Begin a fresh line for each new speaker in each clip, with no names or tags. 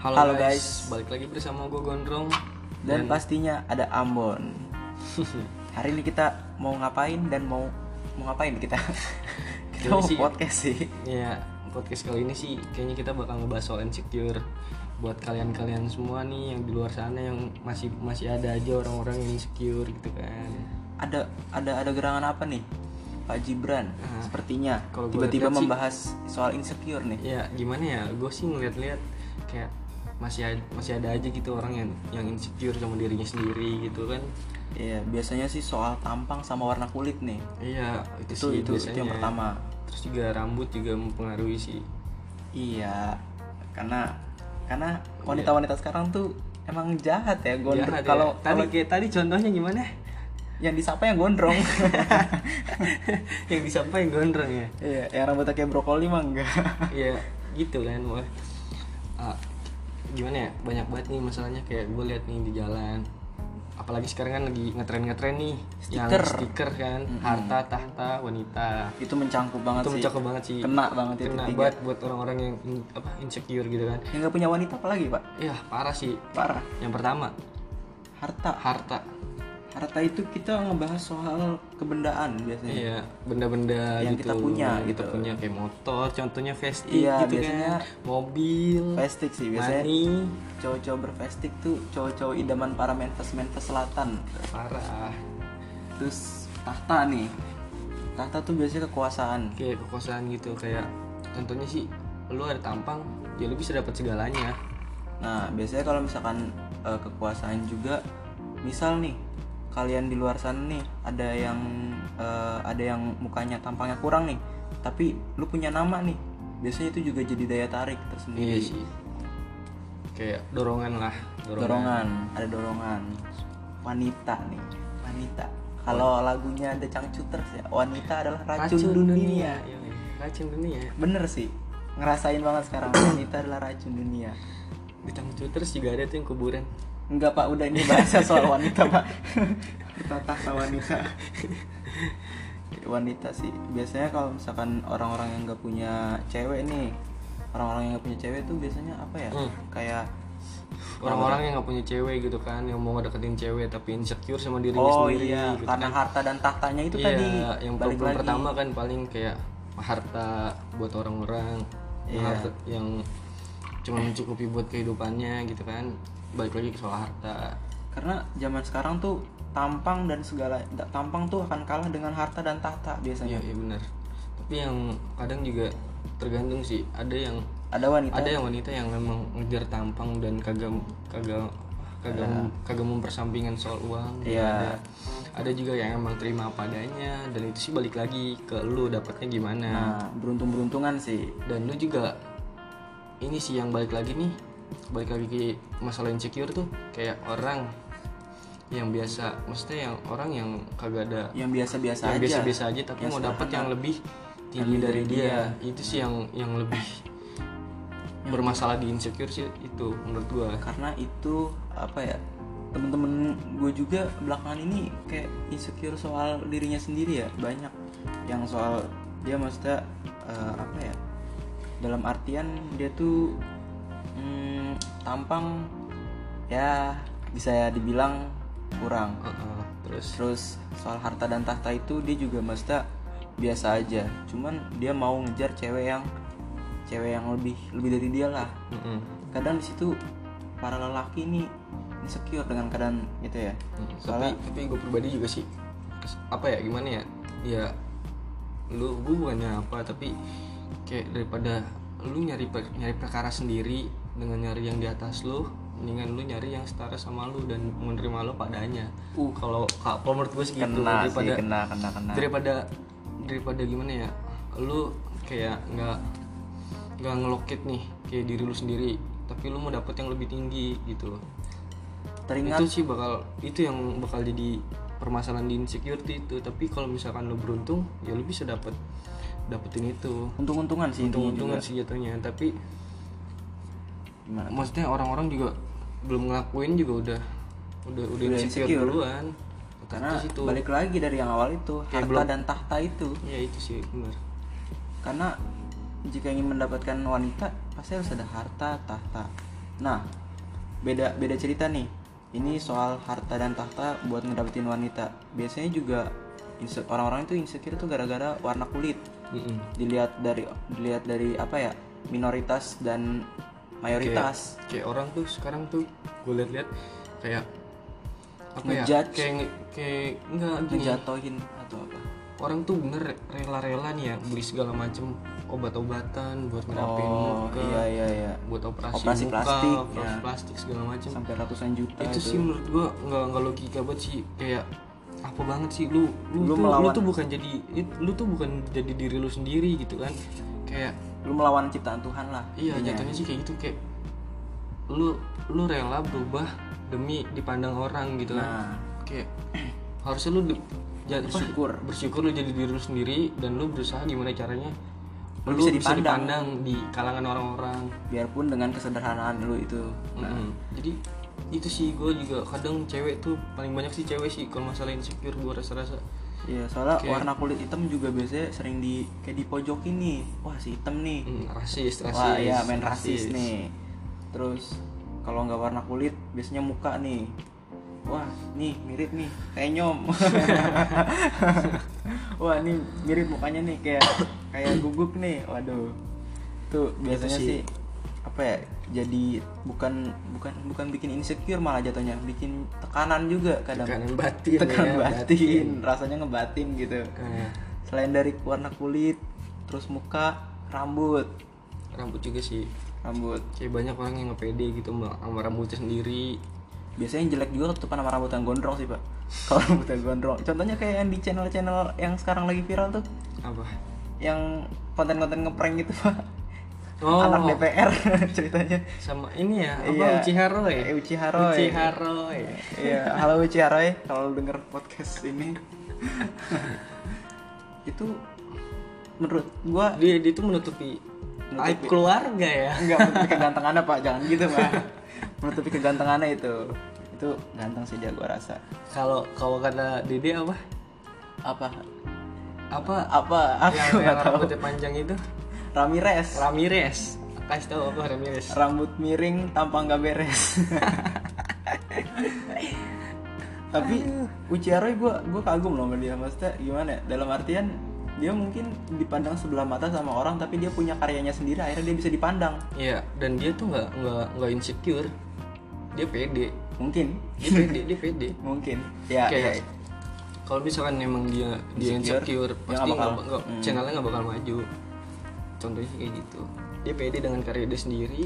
Halo,
Halo,
guys. balik lagi bersama gue Gondrong.
dan
Hmm.
pastinya ada Ambon. Hari ini kita mau ngapain dan mau mau ngapain kita?
Jadi
kita mau
sih-
podcast sih.
Ya, podcast kali ini sih kayaknya kita bakal ngebahas soal insecure. Buat kalian-kalian semua nih yang di luar sana yang masih masih ada aja orang-orang yang insecure gitu kan.
Ada ada ada gerangan apa nih? Pak Gibran sepertinya
Hmm. Kalau gua lihat-lihat
tiba-tiba
sih-
membahas soal insecure nih.
Ya, gimana ya? Gue sih ngeliat-liat kayak masih ad- masih ada aja gitu orang yang yang insecure sama dirinya sendiri gitu kan.
Iya, biasanya sih soal tampang sama warna kulit nih.
Iya, itu,
Itu
sih
itu, itu
biasanya.
yang pertama.
Terus juga rambut juga mempengaruhi sih.
Iya, karena karena wanita-wanita sekarang tuh emang jahat ya gondrong.
Iya. Jahat ya.
Kalau
tadi
kalau
kayak tadi contohnya gimana?
yang disapa yang gondrong.
yang disapa yang gondrong ya
Iya, yang rambutnya kayak brokoli mah enggak.
ya gitu kan wah Ah, gimana ya banyak banget nih masalahnya kayak gue lihat nih di jalan apalagi sekarang kan lagi ngetren ngetren nih yang
Stiker.
stiker kan harta tahta wanita
Itu mencangkup banget
itu
sih.
mencakup banget sih
Kena banget itu
kena
tiga.
banget buat orang-orang yang in- apa insecure gitu kan
Yang nggak punya wanita apa lagi, Pak?
ya parah sih
Parah.
yang pertama
Harta.
harta
Harta itu kita ngebahas soal kebendaan biasanya.
Iya, benda-benda
Yang
gitu
kita punya,
yang kita
gitu.
punya kayak motor, contohnya Vespa
Iya,
gitu
biasanya-
kan, mobil,
Vestik sih biasanya.
money,
Cowok-cowok bervestik tuh cowok-cowok idaman para menfes-menfes selatan.
parah
Terus tahta nih. Tahta tuh biasanya kekuasaan.
kayak kekuasaan gitu kayak contohnya sih lu ada tampang ya lu bisa dapat segalanya
Nah, biasanya kalau misalkan eh, kekuasaan juga, misal nih kalian di luar sana nih ada yang eh, ada yang mukanya tampangnya kurang nih, tapi lu punya nama nih, biasanya itu juga jadi daya tarik
iya
tersendiri.
sih kayak dorongan lah dorongan,
dorongan, ada dorongan. Wanita nih, wanita. Kalau lagunya ada cangcuters ya, wanita adalah racun, dunia.
Yoi, Iya, racun dunia
Bener sih, ngerasain banget sekarang wanita adalah racun dunia.
di Tangcuters juga ada tuh yang kuburan
Enggak pak, udah ini bahasa soal wanita pak Kita tahta wanita Wanita sih, biasanya kalau misalkan orang-orang yang nggak punya cewek nih Orang-orang yang nggak punya cewek tuh biasanya apa ya?
Hmm.
Kayak
orang-orang yang nggak punya cewek gitu kan yang mau ngedeketin cewek tapi insecure sama dirinya
Oh
sendiri
iya,
gitu
karena harta dan tahtanya itu
Iya,
tadi
yang
balik
problem
lagi.
pertama kan paling kayak harta buat orang-orang
Iya.
harta yang cuma mencukupi buat kehidupannya gitu kan balik lagi ke soal harta
Karena zaman sekarang tuh tampang dan segala tampang tuh akan kalah dengan harta dan tahta
iya
biasanya.
iya benar tapi yang kadang juga tergantung sih ada yang
Ada wanita
ada yang wanita yang memang ngejar tampang dan kagak kagak kagak kagak mempersampingkan soal uang juga
Iya.
ada ada juga yang emang terima apa adanya dan itu sih balik lagi ke lu dapatnya gimana
Nah, beruntung-beruntungan sih.
dan lu juga ini sih yang balik lagi nih balik lagi ke masalah insecure tuh kayak orang yang biasa maksudnya yang orang yang kagak ada
Yang biasa-biasa
yang
aja.
biasa-biasa aja tapi mau dapat yang lebih tinggi
Lebih
dari
dari
dia. itu sih yang yang lebih bermasalah di insecure sih itu menurut gua
karena itu apa ya temen-temen gue juga belakangan ini kayak insecure soal dirinya sendiri ya banyak yang soal dia maksudnya eh, apa ya dalam artian dia tuh mm, tampang ya bisa dibilang kurang
Heeh, terus
terus soal harta dan tahta itu dia juga maksudnya biasa aja cuman dia mau ngejar cewek yang cewek yang lebih lebih dari dia lah
heeh,
kadang di situ para lelaki ini insecure dengan keadaan gitu ya
heeh. Hmm, tapi
soalnya
tapi gue pribadi juga sih kes- apa ya gimana ya ya lu gue bukannya apa tapi kayak daripada lu nyari per- nyari perkara sendiri dengan nyari yang di atas lu mendingan lu nyari yang setara sama lu dan menerima lu padanya uh kalau kalau menurut gue sih gitu
kena sih
daripada
kena kena kena
daripada daripada gimana ya lu kayak nggak nggak ngeloket nih kayak diri lu sendiri tapi lu mau dapet yang lebih tinggi gitu loh
teringat
itu sih bakal itu yang bakal jadi permasalahan di insecurity itu tapi kalau misalkan lu beruntung ya lu bisa dapet dapetin itu
untung-untungan sih intinya
untung-untungan sih jatuhnya tapi
juga. gimana
maksudnya orang-orang juga belum ngelakuin juga udah udah udah,
Udah
insecure,
insecure.
duluan
karena
Terus itu
balik lagi dari yang awal itu
Kayak
harta
belum-
dan tahta itu
ya itu sih benar
karena jika ingin mendapatkan wanita pasti harus ada harta tahta Nah, beda beda cerita nih. Ini soal harta dan tahta buat ngedapetin wanita. Biasanya juga inse- orang-orang itu insecure tuh gara-gara warna kulit.
Mm-mm.
Dilihat dari dilihat dari apa ya? Minoritas dan mayoritas.
kayak orang tuh sekarang tuh gue liat-liat kayak apa ya
Ngejudge.
kayak nge- kayak enggak gini
Ngejatohin atau apa?
orang tuh bener rela-rela nih ya beli segala macam obat-obatan buat ngerapiin
Oh,
muka
iya iya iya.
buat operasi,
Operasi
muka,
plastik,
operasi
ya.
plastik segala macam
Sampai ratusan juta
itu sih menurut gua nggak nggak logika banget sih kayak apa banget sih lu lu,
Lu
tuh, lu
melawan.
tuh bukan jadi it- lu tuh bukan jadi diri lu sendiri gitu kan kayak
Lu melawan ciptaan Tuhan lah.
iya
intinya.
jatuhnya sih kayak gitu kayak lu lu rela berubah demi dipandang orang gitu kan
Nah,
kayak harusnya lu de- ja- apa,
Bersyukur.
bersyukur lu jadi diri lu sendiri dan lu berusaha gimana caranya
Lu
lu
bisa
bisa,
dipandang.
dipandang di kalangan orang-orang
biarpun dengan kesederhanaan lu itu. Nah,
Mm-mm. jadi itu sih gue juga kadang cewek tuh paling banyak sih cewek sih kalau masalah insecure gue rasa-rasa
Iya, soalnya
Kayak-
warna kulit hitam juga biasanya sering di kayak di pojok ini. Wah, si hitam nih.
mm, rasis rasis
Wah, iya main rasis, nih. Terus kalau nggak warna kulit biasanya muka nih. Wah, nih mirip nih kayak nyom. Wah, nih mirip mukanya nih kayak kayak gugup nih. Waduh. Tuh biasanya
sih.
sih apa ya? Jadi bukan bukan bukan bikin insecure malah jatuhnya, bikin tekanan juga kadang.
tekanan batin
Tekanan
ya,
batin, rasanya ngebatin gitu.
Eh,
Selain dari warna kulit, terus muka, rambut,
rambut juga sih
rambut.
kayak banyak orang yang ngepede gitu sama sama rambutnya sendiri
Biasanya yang jelek juga ketutupan sama rambut yang gondrong sih pak. Kalau rambut yang gondrong, contohnya kayak yang di channel-channel yang sekarang lagi viral tuh,
apa
yang konten-konten ngeprank gitu pak.
Oh.
Anak DPR ceritanya.
sama ini ya apa
Iya.
Uchi Haroy
Eh, Uchi Haroy.
Uchi Haroy.
Iya, halo Uci Aroy, kalau lu denger podcast ini. itu menurut gua
dia dia tuh menutupi aib keluarga ya
Enggak menutupi kegantengannya pak, jangan gitu pak. Menutupi kegantengannya itu, itu ganteng sih dia gua rasa.
kalau kalau kata Dede apa
Apa?
apa
Apa? Aku
yang, yang
nggak tahu.
rambutnya panjang itu
Ramirez,
Ramirez kasih tahu apa Ramirez
rambut miring, tampang gak beres. Tapi Uci Aroy gue gue kagum loh sama dia maksudnya gimana? ya, Dalam artian dia mungkin dipandang sebelah mata sama orang tapi dia punya karyanya sendiri akhirnya dia bisa dipandang
Iya, dan dia tuh nggak nggak nggak insecure. Dia pede,
mungkin
dia pede, dia pede.
mungkin ya,
Kayak
ya
kalau misalkan emang dia dia
Insecure,
insecure,
dia
pasti nggak
nggak bakal- hmm.
nggak- channelnya nggak bakal maju. Contohnya kayak gitu. Dia pede dengan karya dia sendiri.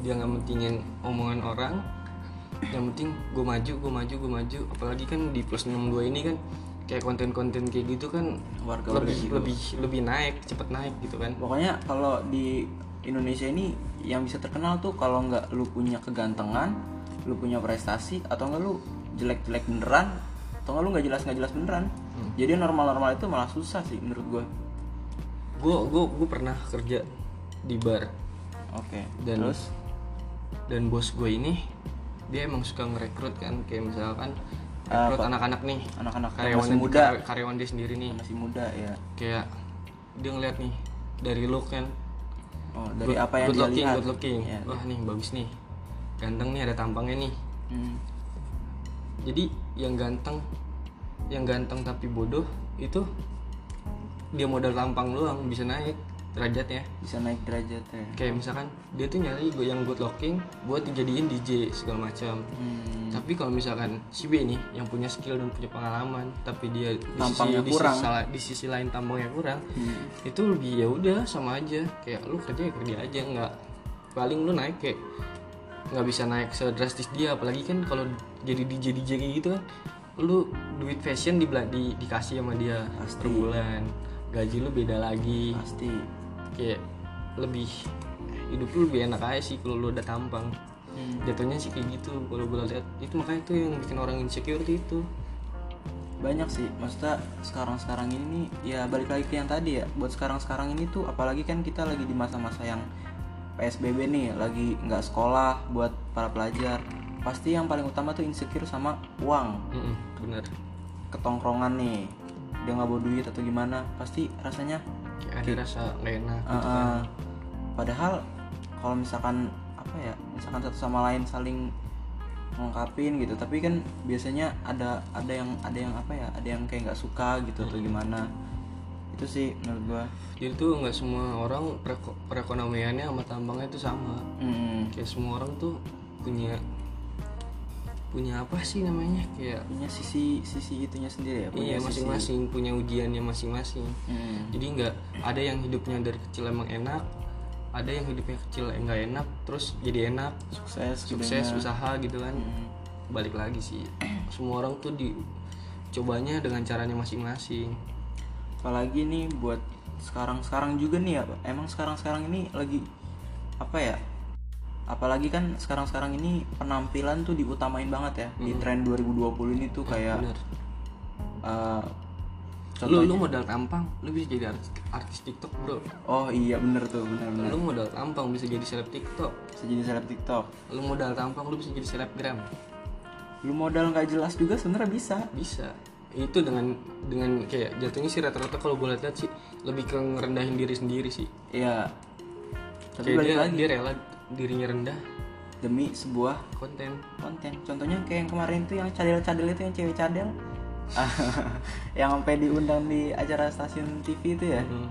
Dia nggak mentingin omongan orang. Yang penting gue maju, gue maju, gue maju. Apalagi kan di plus 62 ini kan kayak konten-konten kayak gitu kan
Warga
lebih lebih lebih naik, cepet naik gitu kan.
pokoknya kalau di Indonesia ini yang bisa terkenal tuh kalau nggak lu punya kegantengan lu punya prestasi atau nggak lu jelek-jelek beneran atau nggak lu nggak jelas nggak jelas beneran
Hmm.
jadi normal-normal itu malah susah sih menurut gue
Gue gue gue pernah kerja di bar.
oke
dan dan bos gue ini dia emang suka ngerekrut kan kayak misalkan rekrut anak-anak nih
Ah, anak-anak
karyawan
masih
yang-
muda
kar- karyawan dia sendiri nih
masih muda ya
kayak dia ngeliat nih dari look kan
oh dari
good-
apa yang
good
dia
looking
lihat
good looking
Iya.
wah nih bagus nih ganteng nih ada tampangnya nih
Hmm.
jadi yang ganteng yang ganteng tapi bodoh itu dia modal tampang doang bisa naik derajatnya
bisa naik ya. derajatnya
kayak misalkan dia tuh nyari gue yang good looking buat dijadiin DJ segala macam
Hmm.
tapi kalau misalkan si B nih yang punya skill dan punya pengalaman tapi dia di
Tampangnya
sisi, di
kurang.
sisi sala- di sisi lain tampangnya kurang
Hmm.
itu lebih ya udah sama aja kayak lu kerja ya kerja aja nggak paling lu naik kayak nggak bisa naik sedrastis dia apalagi kan kalau jadi DJ DJ kayak gitu kan lu duit fashion di, di dikasih sama dia
Pasti.
per bulan gaji lu beda lagi
pasti
kayak lebih hidup lu lebih enak aja sih kalau lu udah tampang
Hmm.
jatuhnya sih kayak gitu kalau gue lihat itu makanya tuh yang bikin orang insecure gitu. tuh itu
banyak sih maksudnya sekarang sekarang ini nih, ya balik lagi ke yang tadi ya buat sekarang sekarang ini tuh apalagi kan kita lagi di masa-masa yang psbb nih lagi nggak sekolah buat para pelajar pasti yang paling utama tuh insecure sama uang
Mm-mm, bener
ketongkrongan nih dia nggak bawa duit atau gimana pasti rasanya Ah,
kayak ada rasa gak enak gitu kan.
eh, eh, padahal Gitu kan. kalau misalkan apa apa ya misalkan satu sama lain saling melengkapin gitu tapi kan biasanya ada ada yang ada yang apa ya ada yang kayak nggak suka gitu atau gimana itu sih menurut gua
jadi tuh nggak semua orang pereko- perekonomiannya sama tambangnya itu sama
Mm,
kayak semua orang tuh punya punya apa sih namanya kayak
punya sisi sisi itunya sendiri ya
iya
punya sisi-
masing-masing punya ujiannya masing-masing
Mm,
jadi nggak ada yang hidupnya dari kecil emang enak ada yang hidupnya kecil nggak enak terus jadi enak
sukses
sukses
gedenya.
usaha gitu kan
Mm,
balik lagi sih semua orang tuh dicobanya dengan caranya masing-masing
apalagi nih buat sekarang sekarang juga nih ya emang sekarang sekarang ini lagi apa ya apalagi kan sekarang sekarang ini penampilan tuh diutamain banget ya di tren 2020 ini tuh kayak
Hmm. bener
eh,
lu
contoh
lu modal tampang lu bisa jadi artis, artis tiktok bro
oh iya bener tuh bener bener
lu modal tampang bisa jadi seleb tiktok
bisa jadi seleb tiktok
lu modal tampang lu bisa jadi selebgram
lu modal nggak jelas juga sebenarnya bisa
bisa itu dengan dengan kayak jatuhnya sih rata-rata kalau gue lihat sih lebih ke ngerendahin diri sendiri sih
iya tapi
kayak
balik
dia,
lagi
dia rela dirinya rendah
demi sebuah
konten
konten contohnya kayak yang kemarin tuh yang cadel-cadel itu yang cewek cadel yang sampai diundang di acara stasiun TV itu ya
Hmm.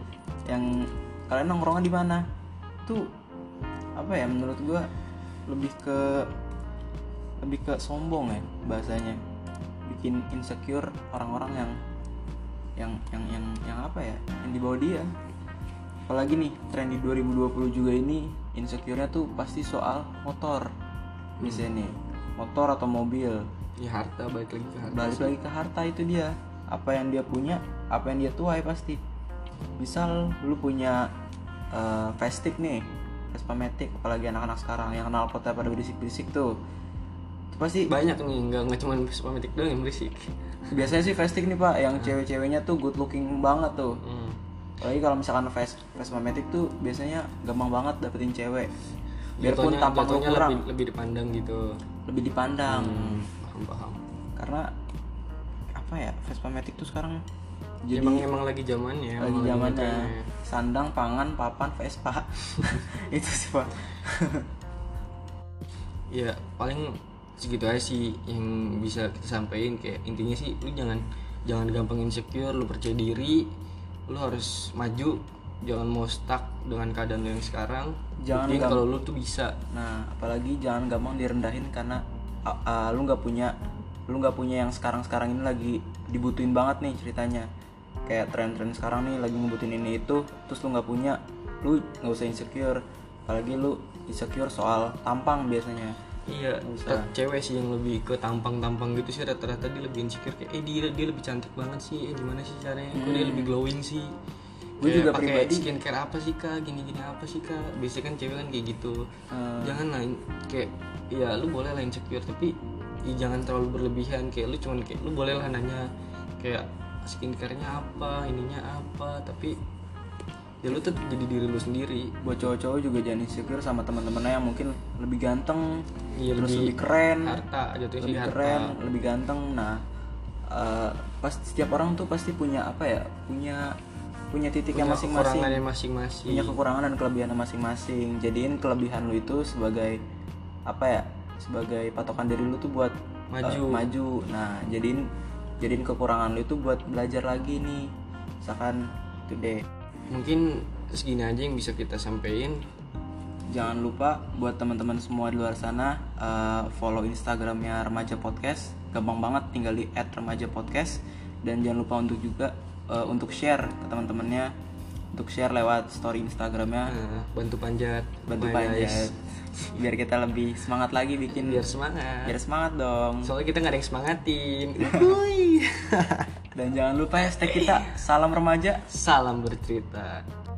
yang kalian nongkrongan di mana tuh apa ya menurut gua lebih ke lebih ke sombong ya bahasanya bikin insecure orang-orang yang yang yang yang yang apa ya yang di bawah dia apalagi nih tren di 2020 juga ini insecure-nya tuh pasti soal motor misalnya nih motor atau mobil
ya harta balik lagi ke harta
balik lagi ke harta itu dia apa yang dia punya apa yang dia tuai pasti misal lu punya eh Vestic nih Vespa Matic apalagi anak-anak sekarang yang kenal kota pada berisik-berisik tuh itu pasti
banyak nih nggak nggak cuma spametik doang yang berisik
biasanya sih Vestic nih pak yang cewek-ceweknya tuh good looking banget tuh
Hmm.
apalagi kalau misalkan Ves- Vespa Matic tuh biasanya gampang banget dapetin cewek biarpun
Jatuhnya-
tampang lu
jatuhnya
kurang Hmm.
lebih, Hmm. lebih dipandang gitu
lebih dipandang
paham paham
karena apa ya Vespa Matic tuh sekarang jadi
emang emang lagi zamannya emang
lagi zamannya
ngetrennya.
sandang pangan papan Vespa itu sih pak
ya paling segitu aja sih yang bisa kita sampaikan kayak intinya sih lu jangan jangan gampang insecure lu percaya diri lu harus maju jangan mau stuck dengan keadaan lu yang sekarang
Jangan
buktiin
gamp-
kalau lu tuh bisa
nah apalagi jangan gampang direndahin karena ah, ah, lu nggak punya lu nggak punya yang sekarang sekarang ini lagi dibutuhin banget nih ceritanya kayak tren-tren sekarang nih lagi ngebutuhin ini itu terus lu nggak punya lu nggak usah insecure apalagi lu insecure soal tampang biasanya
iya
usah.
cewek sih yang lebih ke tampang-tampang gitu sih rata-rata dia lebih insecure kayak eh dia dia lebih cantik banget sih eh gimana sih caranya kok dia lebih glowing sih
Hmm. Gua
Kayak
juga
pakai
pribadi-
skincare apa sih kak gini-gini apa sih kak biasanya kan cewek kan kayak gitu
Eh,
jangan lah in- kayak ya lu boleh lah insecure tapi ya jangan terlalu berlebihan kayak lu cuman kayak lu boleh lah nanya kayak skincare-nya apa ininya apa tapi ya lu tetap jadi diri lu sendiri
buat cowok-cowok juga jangan insecure sama teman-temannya yang mungkin lebih ganteng
Iya,
terus
lebih
lebih keren
harta jatuhnya sih Ah.
Kan lebih
harta
keren, lebih ganteng. Nah, eh, pasti setiap orang tuh pasti punya apa ya? Punya punya
punya
titiknya ya masing-masing,
kekurangannya masing-masing
punya kekurangan dan kelebihannya masing-masing. Jadiin kelebihan lu itu sebagai apa ya? Sebagai patokan diri lu tuh buat eh,
Maju.
maju. Nah, jadiin jadiin kekurangan lu itu buat belajar lagi nih. Misalkan gede.
mungkin segini aja yang bisa kita sampein
Jangan lupa buat teman-teman semua di luar sana eh, follow Instagramnya Remaja Podcast. Gampang banget, tinggal di @remajapodcast dan jangan lupa untuk juga eh, untuk share ke teman-temannya, untuk share lewat story Instagramnya.
Nah, bantu panjat
Bantu
Bye,
banyak
guys.
biar kita lebih semangat lagi bikin
biar semangat
biar semangat dong.
soalnya kita nggak ada yang semangatin Uhuy.
Dan jangan lupa hashtag kita salam remaja.
salam bercerita